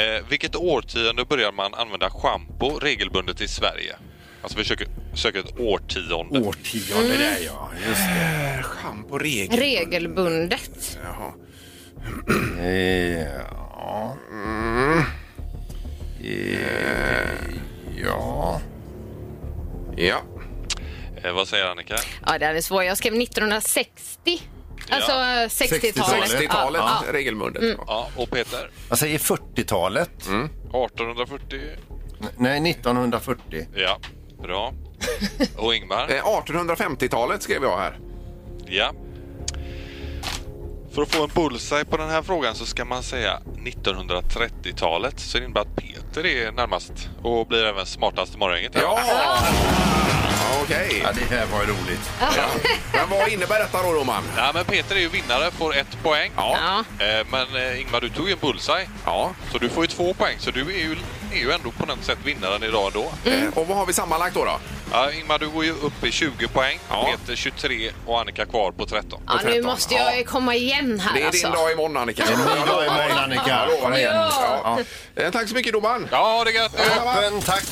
Speaker 10: Eh, vilket årtionde börjar man använda schampo regelbundet i Sverige? Alltså vi söker, söker ett årtionde.
Speaker 3: Årtionde där, ja. Just
Speaker 2: Schampo regel.
Speaker 4: Regelbundet.
Speaker 2: Jaha.
Speaker 3: det. Ja. Mm. Eh, Ja.
Speaker 2: Ja.
Speaker 3: Oh.
Speaker 10: Eh, vad säger Annika?
Speaker 4: Ja, den är svår. Jag skrev 1960. Alltså eh, 60-talet.
Speaker 2: 60-talet
Speaker 4: Ja, ja.
Speaker 2: regelbundet.
Speaker 3: Mm.
Speaker 2: Ja.
Speaker 10: Ja, och Peter?
Speaker 3: Jag säger 40-talet.
Speaker 10: 1840?
Speaker 3: N- Nej, 1940.
Speaker 10: Ja, bra. Och Ingmar?
Speaker 2: Eh, 1850-talet skrev jag här.
Speaker 10: Ja. För att få en bullseye på den här frågan så ska man säga 1930-talet. Så det innebär att Peter är närmast och blir även smartast i morgongänget.
Speaker 2: Ja! Okej.
Speaker 3: Ja, det här var ju roligt.
Speaker 2: Men vad innebär detta då, Roman?
Speaker 10: Nej, men Peter är ju vinnare, får ett poäng.
Speaker 2: Ja.
Speaker 10: Eh, Men eh, Ingmar, du tog ju en bullseye.
Speaker 2: Ja.
Speaker 10: Så du får ju två poäng, så du är ju, är ju ändå på något sätt vinnaren idag ändå.
Speaker 3: Mm.
Speaker 2: Eh, Och vad har vi sammanlagt då? då?
Speaker 10: Ja, Ingmar, du går ju upp i 20 poäng.
Speaker 2: Ja.
Speaker 10: Peter 23 och Annika kvar på 13.
Speaker 4: Ja, nu
Speaker 2: 13.
Speaker 4: måste jag ju komma igen här
Speaker 2: Det är
Speaker 4: alltså.
Speaker 2: din dag imorgon, Annika.
Speaker 3: Det är en ny dag imorgon, Annika.
Speaker 2: Ja,
Speaker 3: Kom igen.
Speaker 2: Ja. Eh, Tack så mycket, domaren.
Speaker 10: Ja, det är gött!
Speaker 3: Toppen, tack.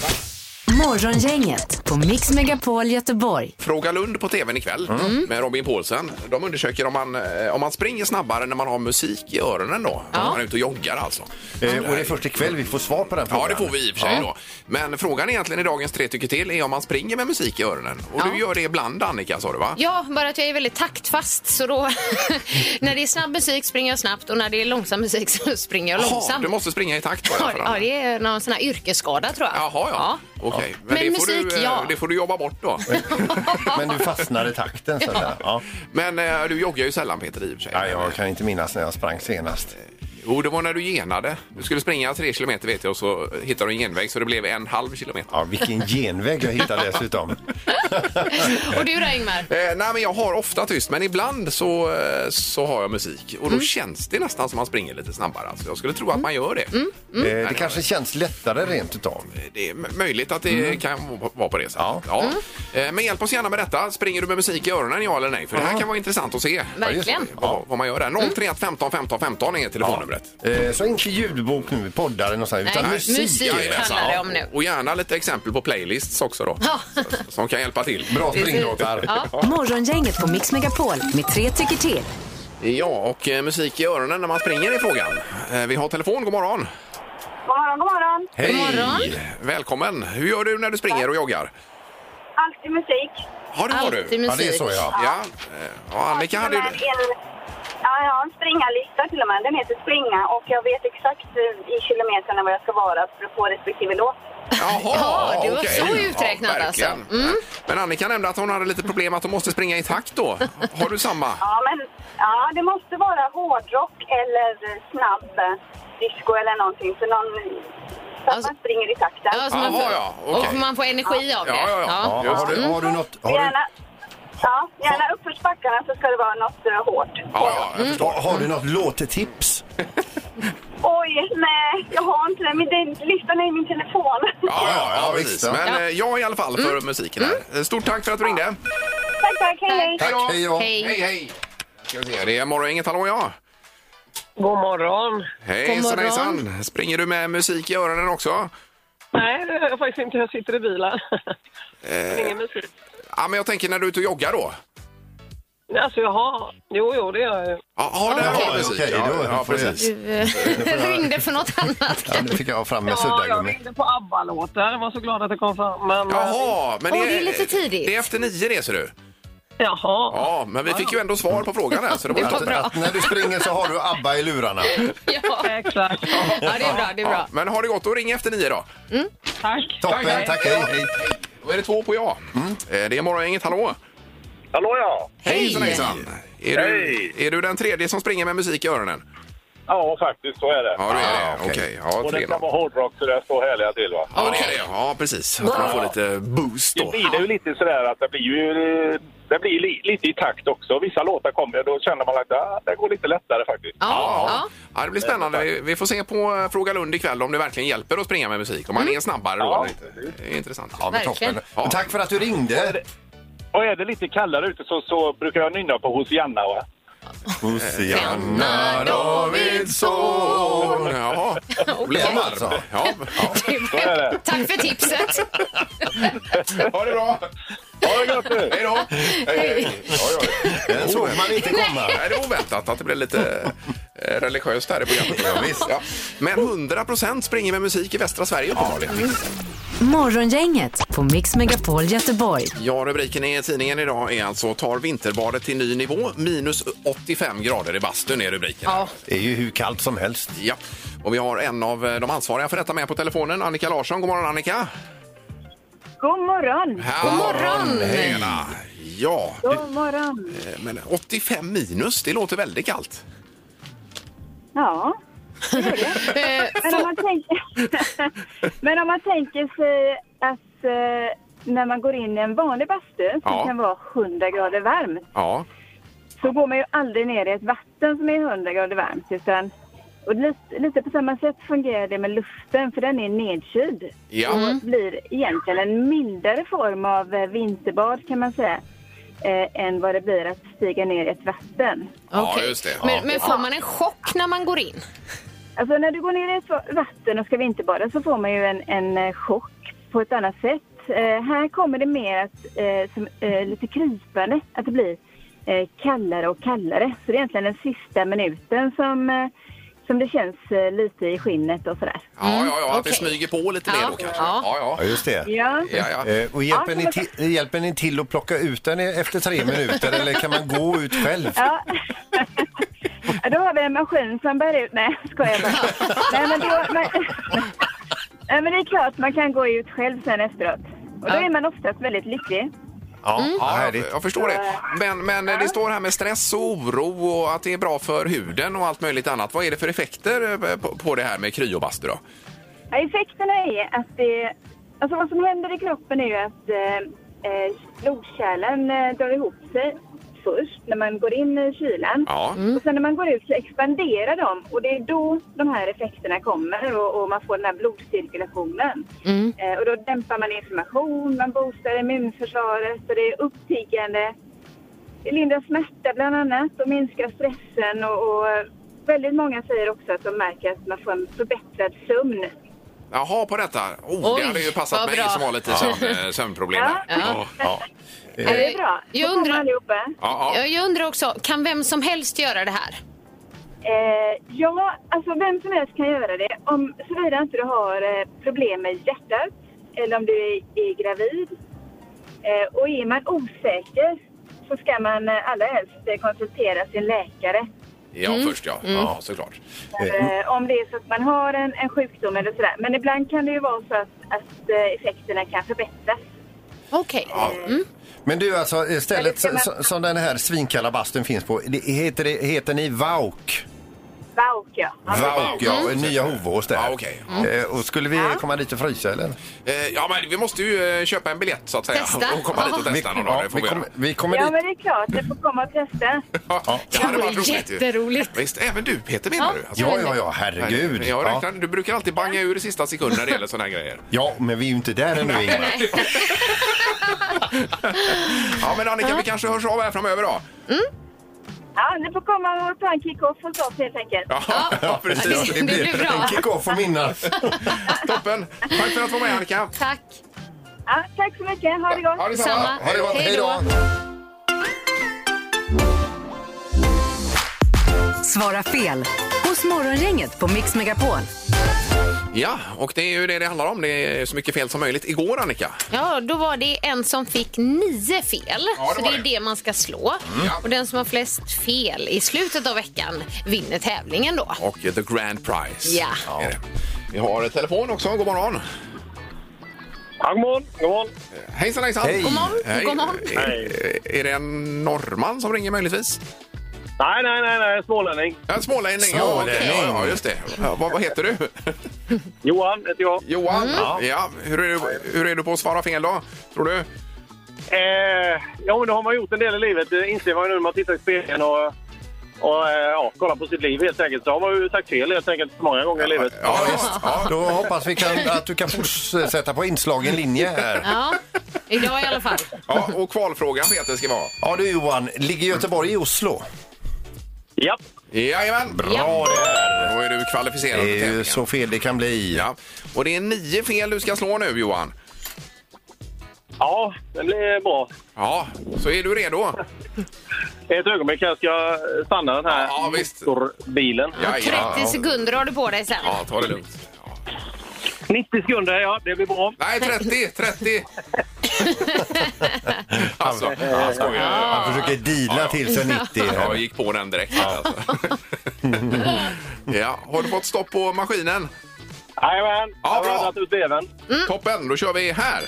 Speaker 1: Morgongänget på Mix Megapol Göteborg.
Speaker 2: Fråga Lund på tvn ikväll
Speaker 3: Mm.
Speaker 4: Mm.
Speaker 2: med Robin Paulsen. De undersöker om man, eh, om man springer snabbare när man har musik i öronen då. Om man är ute och joggar alltså.
Speaker 3: Eh, och det är först ikväll vi får svar på den frågan.
Speaker 2: Ja, det får vi i och för sig då. Men frågan egentligen i dagens Tre tycker till är om man springer med musik i öronen. Och du gör det ibland Annika, sa du va?
Speaker 4: Ja, bara att jag är väldigt taktfast. Så då, när det är snabb musik springer jag snabbt och när det är långsam musik så springer jag
Speaker 2: Jaha,
Speaker 4: långsamt.
Speaker 2: du måste springa i takt bara
Speaker 4: Ja,
Speaker 2: för
Speaker 4: ja,
Speaker 2: annars.
Speaker 4: det är någon sån här yrkesskada tror jag.
Speaker 2: Jaha, ja. Okej. Men,
Speaker 4: Men
Speaker 2: det, får du,
Speaker 4: musik,
Speaker 2: eh,
Speaker 4: ja.
Speaker 2: det får du jobba bort då.
Speaker 3: Men du fastnar i takten. Så där. Ja.
Speaker 2: Men eh, du joggar ju sällan Peter i och för sig.
Speaker 3: Ja, jag kan inte minnas när jag sprang senast.
Speaker 2: Jo, det var när du genade. Du skulle springa tre kilometer vet jag och så hittade du en genväg så det blev en halv kilometer.
Speaker 3: Ja, vilken genväg jag hittade dessutom.
Speaker 4: Och du då Ingmar?
Speaker 2: Eh, nej, men jag har ofta tyst, men ibland så, eh, så har jag musik. Och då känns det nästan som man springer lite snabbare. Alltså, jag skulle tro att man gör det. Eh,
Speaker 3: Eh, det kanske känns lättare rent utav. Mm.
Speaker 2: Det är m- möjligt att det kan v- vara på det sättet. Ja. Eh, Men hjälp oss gärna med detta. Springer du med musik i öronen, ja eller nej? För det här kan vara intressant att se.
Speaker 4: Verkligen.
Speaker 2: Vad, vad man gör där. 031 15 15 15 är telefonnumret.
Speaker 3: Eh, så inte ljudbok nu, poddar eller något sånt, utan
Speaker 4: Nej,
Speaker 3: musik.
Speaker 4: musik.
Speaker 2: Jajamensan.
Speaker 4: handlar det om nu.
Speaker 2: Och gärna lite exempel på playlists också då. S- Som kan hjälpa till.
Speaker 3: Bra springlåtar.
Speaker 1: Morgongänget på Mix Megapol med tre tycker till.
Speaker 2: Ja, och eh, musik i öronen när man springer är frågan. Eh, Vi har telefon, god morgon.
Speaker 5: God morgon, god morgon.
Speaker 2: Hej!
Speaker 4: morgon.
Speaker 2: Välkommen! Hur gör du när du springer och joggar?
Speaker 5: Alltid musik.
Speaker 2: Ja, det har
Speaker 4: Alltid
Speaker 2: du.
Speaker 4: musik.
Speaker 3: Ja, det är så ja.
Speaker 2: Ja, eh, ja, Annika hade ju...
Speaker 5: Till och med en- Ja, jag har en springarlista till och med. Den heter Springa och jag vet exakt eh, i kilometerna var jag ska vara för att få respektive låt.
Speaker 2: Jaha,
Speaker 4: Ja, det var
Speaker 2: okej.
Speaker 4: så uträknat
Speaker 2: verkligen.
Speaker 4: alltså.
Speaker 2: Men Annika nämnde att hon hade lite problem att hon måste springa i takt då. Har du samma?
Speaker 5: Ja, men ja, det måste vara hårdrock eller eh, snabb eh, disco eller någonting. För någon, så att
Speaker 4: Alltså-
Speaker 5: man springer i takten.
Speaker 4: Ja, så man
Speaker 2: Jaha,
Speaker 4: får,
Speaker 2: ja, okej.
Speaker 4: Och man får energi av det.
Speaker 2: Ja, ja, ja.
Speaker 3: ja har, du,
Speaker 4: Mm.
Speaker 3: har du något... Har du,
Speaker 5: Gärna, ja, gärna uppförsbackarna så ska det vara något eh, hårt.
Speaker 2: Ja, ja, jag förstår.
Speaker 3: har, har du något låttips?
Speaker 5: Oj, nej, jag har inte den. Min- den- Listan är i min telefon.
Speaker 2: Ja, ja, ja, visst. Men eh, jag i alla fall för
Speaker 11: Mm.
Speaker 2: musiken här. Eh, Stort tack för att du ringde.
Speaker 5: Tack, tack. Hej, hej.
Speaker 2: Hej, hej. Ska vi se, Det är Morgongänget, hallå ja.
Speaker 11: God morgon.
Speaker 2: Hej,
Speaker 11: God
Speaker 2: hejsan,
Speaker 11: morgon.
Speaker 2: hejsan. Springer du med musik i öronen också?
Speaker 11: Nej, det gör jag faktiskt inte. Jag sitter i bilen.
Speaker 2: Eh,
Speaker 11: Ingen musik.
Speaker 2: ja, men jag tänker när du är ute och joggar då.
Speaker 11: Alltså, jaha. Jo, jo, det gör jag ju.
Speaker 2: Ja, ja, där
Speaker 3: Okej,
Speaker 2: var musik.
Speaker 3: okej,
Speaker 2: ja,
Speaker 3: då
Speaker 2: ja,
Speaker 3: får jag-
Speaker 2: precis.
Speaker 4: eh, ringde för något annat.
Speaker 3: Ja, nu fick jag fram en
Speaker 11: Ja, jag
Speaker 3: suddgummi.
Speaker 11: ringde på ABBA-låtar. Jag var så glad att det kom fram. Men,
Speaker 2: Jaha, men
Speaker 11: Åh, det är lite tidigt.
Speaker 2: Det är efter nio det, ser du.
Speaker 11: Jaha.
Speaker 2: Ja, men vi fick ju ändå svar på frågan här. Så det var,
Speaker 11: Det var
Speaker 2: ju-
Speaker 11: bra. Att när du springer så har
Speaker 3: du ABBA i lurarna.
Speaker 11: Ja, exakt.
Speaker 4: Ja, det är bra. Det är bra.
Speaker 2: Ja, men har det gått att ringa efter nio då.
Speaker 11: Mm. Tack.
Speaker 3: Toppen, tack. Hej, hej. Mm.
Speaker 2: Då är det två på ja. Eh, Det är Morgongänget, hallå.
Speaker 12: Hallå ja.
Speaker 2: Hejsan hejsan. Är du, är du den tredje som springer med musik i öronen?
Speaker 12: Ja, faktiskt så är det.
Speaker 2: Ja, du är
Speaker 3: Ah,
Speaker 2: det. Okej. Ja,
Speaker 12: och
Speaker 2: tre
Speaker 12: det
Speaker 2: då.
Speaker 12: kan vara hårdrock så där står härliga till va?
Speaker 2: Ja, det är det. Ja, precis. Att man får lite boost
Speaker 12: Det
Speaker 2: då.
Speaker 12: blir det ju lite sådär att det blir ju eh, det blir li, lite i takt också. Vissa låtar kommer då känner man att ah, det går lite lättare faktiskt.
Speaker 2: Ja. Ja, det blir spännande. Vi- Vi får se på eh, Fråga Lund ikväll om det verkligen hjälper att springa med musik. Om man är snabbare då eller inte. Det är intressant.
Speaker 3: Ja, men toppen. Mm. Men Tack för att du
Speaker 12: Och är
Speaker 3: ringde.
Speaker 12: det, och är det lite kallare ute så, så brukar jag nynna på Hosianna va?
Speaker 3: Hosianna
Speaker 2: Davidsson. Jaha, det blev
Speaker 3: Okej.
Speaker 2: varm. Ja,
Speaker 4: Tack för tipset.
Speaker 2: ha det bra.
Speaker 12: Ha det gott nu.
Speaker 2: Hej då.
Speaker 4: Hej.
Speaker 2: Den
Speaker 3: såg man inte komma.
Speaker 2: Nej, det var oväntat att det blev lite eh, religiöst här i programmet. Ja, Ja. Men 100 procent springer med musik i västra Sverige uppenbarligen.
Speaker 1: Morgongänget på Mix Megapol Göteborg.
Speaker 2: Ja, rubriken i tidningen idag är alltså Tar vinterbadet till ny nivå. Minus 85 grader i bastun är rubriken.
Speaker 3: Det är ju hur kallt som helst.
Speaker 2: Ja. Och vi har en av eh, de ansvariga för detta med på telefonen, Annika Larsson. God morgon Annika!
Speaker 13: God morgon!
Speaker 2: God morgon! Hejna. Ja,
Speaker 13: God morgon!
Speaker 2: eh, men 85 minus, det låter väldigt kallt.
Speaker 13: Ja, det gör
Speaker 2: Eh,
Speaker 13: det. Men om man tänker, men om man tänker sig att eh, när man går in i en vanlig bastu som
Speaker 2: Ja.
Speaker 13: kan vara 100 grader varmt
Speaker 2: Ja,
Speaker 13: så går man ju aldrig ner i ett vatten som är 100 grader varmt. Utan, och lite, lite på samma sätt fungerar det med luften för den är nedkyld.
Speaker 2: Ja.
Speaker 13: Och blir egentligen en mildare form av eh, vinterbad kan man säga. Eh, än vad det blir att stiga ner i ett vatten.
Speaker 2: ja just det.
Speaker 4: Men, men får man en chock när man går in?
Speaker 13: Alltså när du går ner i ett va- vatten och ska vinterbada så får man ju en, en eh, chock på ett annat sätt. Eh, här kommer det mer att, eh, som, eh, lite krypande, att det blir eh, kallare och kallare. Så det är egentligen den sista minuten som, eh, som det känns eh, lite i skinnet och sådär.
Speaker 2: Ja, ja, ja att det smyger på lite mer då kanske. Ja, ja.
Speaker 3: Ja, just det.
Speaker 13: Ja.
Speaker 2: Ja, ja.
Speaker 3: Eh, Och hjälper,
Speaker 13: Ja,
Speaker 3: ni till, hjälper ni till att plocka ut den efter tre minuter eller kan man gå ut själv?
Speaker 13: Ja. Ja, då har vi en maskin som bär ut... Nej, skojar bara. Nej, men, då, men, Nej, men det är klart man kan gå ut själv sen efteråt. Och då är man oftast väldigt lycklig.
Speaker 3: Ja,
Speaker 13: Mm.
Speaker 2: ja jag, jag förstår det. Men, men eh, det står här med stress och oro och att det är bra för huden och allt möjligt annat. Vad är det för effekter eh, på, på det här med kryobastu då?
Speaker 13: Ja, effekterna är att det... Alltså vad som händer i kroppen är ju att eh, eh, blodkärlen eh, drar ihop sig först när man går in i Mm. kylan.
Speaker 2: Ja.
Speaker 13: Och sen när man går ut så expanderar de och det är då de här effekterna kommer och, och man får den här blodcirkulationen. Eh, och då dämpar man inflammation, man boostar immunförsvaret och det är uppiggande. Det lindrar smärta bland annat och minskar stressen och, och eh, väldigt många säger också att de märker att man får en förbättrad sömn.
Speaker 2: Jaha, på detta. Oh,
Speaker 13: Oj,
Speaker 2: det hade ju passat
Speaker 13: vad
Speaker 2: mig
Speaker 13: bra.
Speaker 2: som har lite
Speaker 3: Ja.
Speaker 2: sömn, eh, sömnproblem. här.
Speaker 4: Ja.
Speaker 2: Ja.
Speaker 4: Ja, det är
Speaker 13: bra.
Speaker 4: Jag undrar,
Speaker 2: Ja, ja.
Speaker 4: jag, jag undrar också, kan vem som helst göra det här?
Speaker 13: Eh, ja, alltså vem som helst kan göra det. Om, såvida inte du har eh, problem med hjärtat eller om du är, är gravid. Eh, och är man osäker så ska man eh, allra helst eh, konsultera sin läkare.
Speaker 2: Ja, först ja.
Speaker 13: Mm.
Speaker 2: Ja, såklart.
Speaker 13: Eh, om det är så att man har en, en sjukdom eller sådär. Men ibland kan det ju vara så att, att eh, effekterna kan förbättras.
Speaker 4: Okej.
Speaker 3: Men du, alltså eh, stället så- så- som den här svinkalla bastun finns på, det- heter, det, heter ni Vauk?
Speaker 13: Wow. ja.
Speaker 3: Vauk, ja. Nya Hovås där.
Speaker 2: ja.
Speaker 3: Eh, Och skulle vi komma dit och frysa eller?
Speaker 2: Eh, Ja, men vi måste ju eh, köpa en biljett så att säga.
Speaker 3: Testa.
Speaker 2: Och komma dit och testa
Speaker 3: Vi-
Speaker 2: någon dag.
Speaker 3: ja,
Speaker 2: Det får
Speaker 3: vi
Speaker 2: vi
Speaker 3: kommer-
Speaker 2: göra.
Speaker 3: vi
Speaker 13: ja, men det är klart. Du får komma och testa.
Speaker 2: Ja, det hade varit roligt. ju.
Speaker 4: Jätteroligt.
Speaker 2: Visst, även du Peter menar
Speaker 13: Ja.
Speaker 2: du? Alltså,
Speaker 3: Ja, ja, ja, herregud.
Speaker 2: Jag
Speaker 3: Ja.
Speaker 2: räknar, Du brukar alltid banga ur i sista sekunden när det gäller såna här grejer.
Speaker 3: Ja, men vi är ju inte där ännu Ingmar.
Speaker 2: Ja, men Annika,
Speaker 13: Ja.
Speaker 2: vi kanske hörs av här framöver då.
Speaker 13: Ja, ni får komma och ta en kick-off hos oss helt enkelt.
Speaker 2: Ja,
Speaker 13: det- det blir bra.
Speaker 3: En kick-off och minnas.
Speaker 2: Toppen. Tack för att du var med Annika.
Speaker 4: Tack.
Speaker 13: Ja, tack så mycket. Ha det gott.
Speaker 2: Ha detsamma. Samma. Ha det gott. Hej Hej då. då.
Speaker 1: Svara fel hos Morgongänget på Mix Megapol.
Speaker 2: Ja, och det är ju det det handlar om. Det är så mycket fel som möjligt. Igår Annika.
Speaker 4: Ja, då var det en som fick nio fel.
Speaker 2: Ja, det Mm.
Speaker 4: så
Speaker 2: var
Speaker 4: det är det man ska slå. Och den som har flest fel i slutet av veckan vinner tävlingen då.
Speaker 2: Och The Grand Prize.
Speaker 4: Ja.
Speaker 2: Är det. Vi har telefon också. God morgon.
Speaker 12: Ja, god morgon. God morgon.
Speaker 2: Hejsan, hejsan.
Speaker 12: Hej. God morgon,
Speaker 2: Hej.
Speaker 12: god morgon.
Speaker 2: Är, är det en norrman som ringer möjligtvis?
Speaker 12: Nej, nej, nej, nej. Smålänning.
Speaker 2: En smålänning? Ja, okej. Ja, ja, just det. Ja, vad, vad heter du?
Speaker 12: Johan heter jag.
Speaker 2: Johan?
Speaker 12: Mm.
Speaker 2: Ja. Hur, är du, hur är du på att svara fel då, tror du?
Speaker 12: Eh, ja, men det har man gjort en del i livet. Det inser man ju nu när man tittar i spegeln och, och eh, ja, kollar på sitt liv helt enkelt. Så har man ju sagt fel helt enkelt många gånger i livet.
Speaker 2: Ja,
Speaker 3: Då hoppas vi kan, att du kan fortsätta på inslagen linje här.
Speaker 4: Ja, idag i alla fall.
Speaker 2: Ja, och kvalfrågan Peter ska vara.
Speaker 3: Ja du Johan, ligger Göteborg i Oslo?
Speaker 12: Japp.
Speaker 2: Jajamän!
Speaker 3: Bra där!
Speaker 2: Då är du kvalificerad
Speaker 3: Det är
Speaker 2: till
Speaker 3: ju
Speaker 2: tävlingen.
Speaker 3: så fel det kan bli.
Speaker 2: Ja. Och det är nio fel du ska slå nu, Johan.
Speaker 12: Ja, det blir bra.
Speaker 2: Ja, så är du redo?
Speaker 12: Ett ögonblick här ska jag stanna den här
Speaker 2: Ja, visst.
Speaker 12: bilen.
Speaker 4: 30 sekunder har du på dig sen.
Speaker 2: Ja, ta det lugnt.
Speaker 12: 90 sekunder, ja. Det blir bra.
Speaker 2: Nej, 30! 30! alltså, han skojar.
Speaker 3: Han försöker deala till sig 90.
Speaker 2: Ja, jag gick på den direkt. Alltså. ja, har du fått stopp på maskinen?
Speaker 12: Jajamän,
Speaker 2: ja,
Speaker 12: jag har
Speaker 2: bra.
Speaker 12: laddat ut även.
Speaker 2: Toppen, då kör vi här.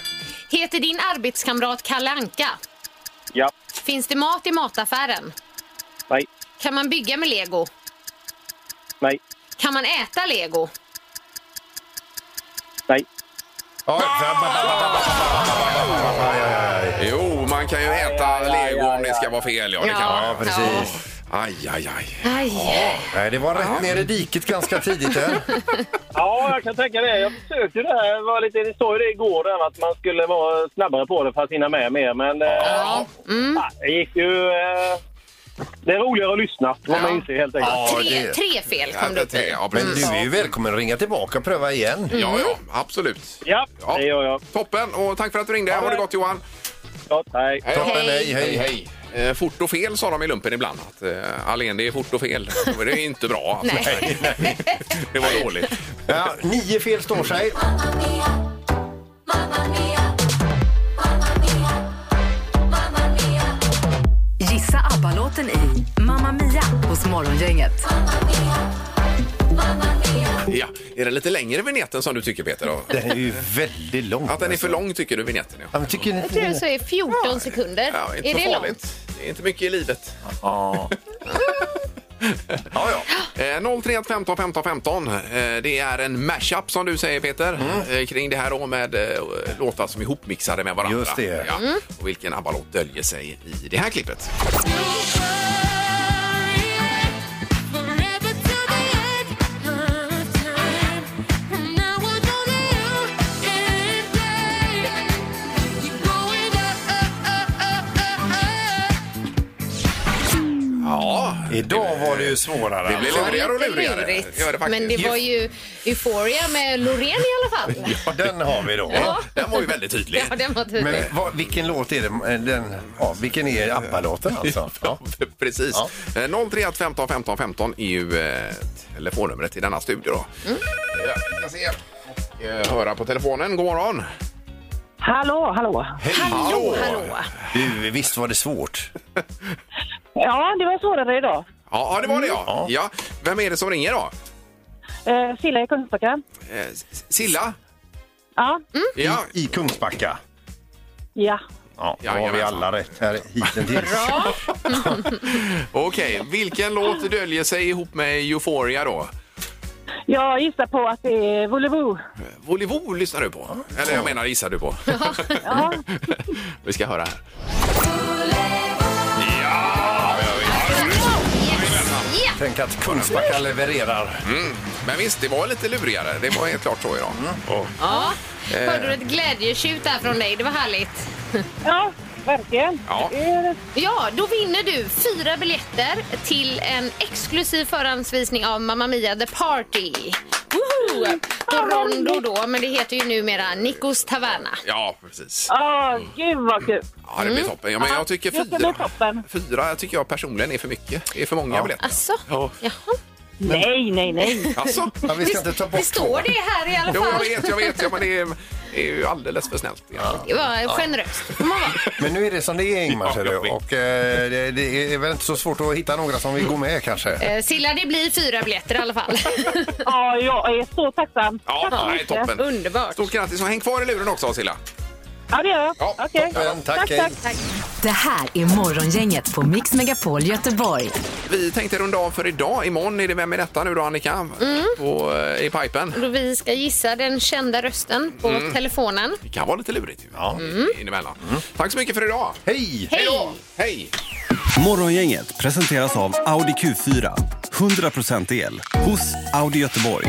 Speaker 4: Heter din arbetskamrat Kalle Anka?
Speaker 12: Ja.
Speaker 4: Finns det mat i mataffären?
Speaker 12: Nej.
Speaker 4: Kan man bygga med lego?
Speaker 12: Nej.
Speaker 4: Kan man äta lego?
Speaker 2: Jo, man kan ju äta lego om det ska vara fel. Ja, det kan
Speaker 4: Ja,
Speaker 2: man.
Speaker 3: ja, precis.
Speaker 2: Aj, aj, aj.
Speaker 4: Aj.
Speaker 3: Nej, det var rätt ner i diket ganska tidigt här.
Speaker 12: Ja, jag kan tänka det. Jag försökte det här. Det var lite, det står ju det igår där att man skulle vara snabbare på det för att hinna med mer. Men eh,
Speaker 14: Mm.
Speaker 12: ja, det gick ju... Eh, det är roligare att lyssna, vad man inser helt enkelt.
Speaker 3: Ja,
Speaker 4: tre,
Speaker 3: det-
Speaker 4: tre fel kom du
Speaker 2: det
Speaker 4: upp i.
Speaker 2: Ja,
Speaker 3: Men
Speaker 2: precis.
Speaker 3: du är ju välkommen att ringa tillbaka och pröva igen.
Speaker 2: Ja, ja, absolut.
Speaker 12: Ja,
Speaker 2: Ja.
Speaker 12: det gör jag.
Speaker 2: Toppen, och tack för att du ringde. Ha det gott Johan.
Speaker 12: Gott, hej.
Speaker 3: Toppen, hej,
Speaker 2: Hej,
Speaker 3: hej.
Speaker 2: hej. Eh, Fort och fel sa de i lumpen ibland. Att, eh, Allén, det är fort och fel. Det är inte bra. Alltså.
Speaker 4: Nej.
Speaker 2: Det var dåligt.
Speaker 3: Ja, nio fel står sig.
Speaker 1: Gissa ABBA-låten i Mamma Mia hos Morgongänget.
Speaker 2: Ja, är den lite längre vignetten som du tycker Peter? Då?
Speaker 3: Den är ju väldigt lång. alltså.
Speaker 2: Att den är för lång tycker du vignetten? Ja.
Speaker 3: Ja, men tycker ni
Speaker 4: Jag
Speaker 3: inte
Speaker 4: tror det
Speaker 3: det?
Speaker 4: så är 14 sekunder.
Speaker 2: Ja, inte
Speaker 4: är
Speaker 2: så
Speaker 4: det långt?
Speaker 2: farligt. Det är inte mycket i livet.
Speaker 3: Ja.
Speaker 2: Ja, ja. Eh, 031 15 15 15. Eh, det är en mashup som du säger Peter.
Speaker 3: Mm.
Speaker 2: Eh, kring det här då med eh, låtar som är ihopmixade med varandra.
Speaker 3: Just det.
Speaker 2: Ja.
Speaker 4: Mm.
Speaker 2: Och vilken ABBA-låt döljer sig i det här klippet. Ja,
Speaker 3: Idag var det ju svårare.
Speaker 2: det blir
Speaker 3: alltså.
Speaker 2: lurigare och
Speaker 4: Lite
Speaker 2: lurigare.
Speaker 4: lurigt.
Speaker 2: Gör det faktiskt.
Speaker 4: Men det var ju Euphoria med Loreen i alla fall.
Speaker 3: Ja, den har vi då.
Speaker 2: Ja, Den var ju väldigt tydlig.
Speaker 4: Ja, den var tydlig.
Speaker 3: Men vad, vilken låt är det? Den, ja, vilken är ABBA-låten alltså? Ja.
Speaker 2: Precis.
Speaker 3: Ja.
Speaker 2: Eh, 031 15 15 15 är ju eh, telefonnumret till denna studio. Då.
Speaker 4: Mm.
Speaker 2: Eh, Vi ska se och eh, höra på telefonen. God morgon!
Speaker 14: Hallå, hallå.
Speaker 4: Hallå, hallå.
Speaker 3: Du, visst var det svårt?
Speaker 14: Ja, det var svårare idag.
Speaker 2: Ja, ja, det var det
Speaker 3: Mm.
Speaker 2: ja. ja. Vem är det som ringer då?
Speaker 14: Eh, Silla i Kungsbacka.
Speaker 2: Eh, S- Silla?
Speaker 14: Ja,
Speaker 4: Mm.
Speaker 2: Ja,
Speaker 3: I Kungsbacka?
Speaker 14: ja.
Speaker 3: Ja, då har vi alla rätt här hittills.
Speaker 2: Okej, vilken låt döljer sig ihop med Euphoria då?
Speaker 14: Jag gissar på att det är Volvo.
Speaker 2: Volvo lyssnar du på? Eller jag menar gissar du på?
Speaker 14: Ja.
Speaker 2: Vi ska höra här.
Speaker 3: Tänk att Kungsbacka levererar.
Speaker 2: Mm. Men visst, det var lite lurigare. Det var helt klart så idag. Och-
Speaker 4: Ja.
Speaker 2: Eh.
Speaker 4: Hörde du ett glädjetjut där från dig? Det var härligt.
Speaker 14: Ja, verkligen.
Speaker 2: Ja.
Speaker 4: Ja, då vinner du fyra biljetter till en exklusiv förhandsvisning av Mamma Mia The Party.
Speaker 2: Mm.
Speaker 4: Woho! Toronto då, men det heter ju numera Nikos Taverna.
Speaker 2: Ja, precis.
Speaker 14: Ja, Mm. gud vad kul.
Speaker 2: Ja, det blir toppen. Ja, men jag tycker
Speaker 14: Det ska bli
Speaker 2: fyra, fyra tycker jag personligen är för mycket. Det är för många biljetter.
Speaker 4: Alltså,
Speaker 2: Ja.
Speaker 14: Nej, nej, nej.
Speaker 2: Alltså, ja, vi ska inte ta bort
Speaker 4: det står
Speaker 2: två.
Speaker 4: det här i alla
Speaker 2: Jo,
Speaker 4: fall.
Speaker 2: jag vet, jag vet. Ja, men det är, det är ju alldeles för snällt.
Speaker 4: Det var generöst.
Speaker 3: Men nu är det som det är Ingmar, ser du. Och eh, det, det är väl inte så svårt att hitta några som vill gå med kanske.
Speaker 4: Eh, Silla, det blir fyra biljetter i alla fall.
Speaker 14: Ja, jag är så tacksam.
Speaker 2: Ja,
Speaker 14: Tack så
Speaker 2: nej,
Speaker 14: mycket.
Speaker 2: toppen.
Speaker 4: Underbart.
Speaker 2: Stort grattis och häng kvar i luren också, Silla.
Speaker 14: Ja, det gör jag. Okej.
Speaker 3: toppen. Tack,
Speaker 14: tack,
Speaker 3: hej.
Speaker 14: tack, tack.
Speaker 1: Det här är Morgongänget på Mix Megapol Göteborg.
Speaker 2: Vi tänkte runda av för idag. Imorgon är det Vem är detta nu då, Annika?
Speaker 14: Mm.
Speaker 2: På, eh, I pipen.
Speaker 4: Då vi ska gissa den kända rösten på
Speaker 2: Mm.
Speaker 4: telefonen.
Speaker 2: Det kan vara lite lurigt ju. Ja.
Speaker 4: Mm.
Speaker 2: Inemellan. Tack så mycket för idag.
Speaker 3: Hej!
Speaker 4: Hej! då!
Speaker 2: Hej!
Speaker 15: Morgongänget presenteras av Audi Q4. 100% el hos Audi Göteborg.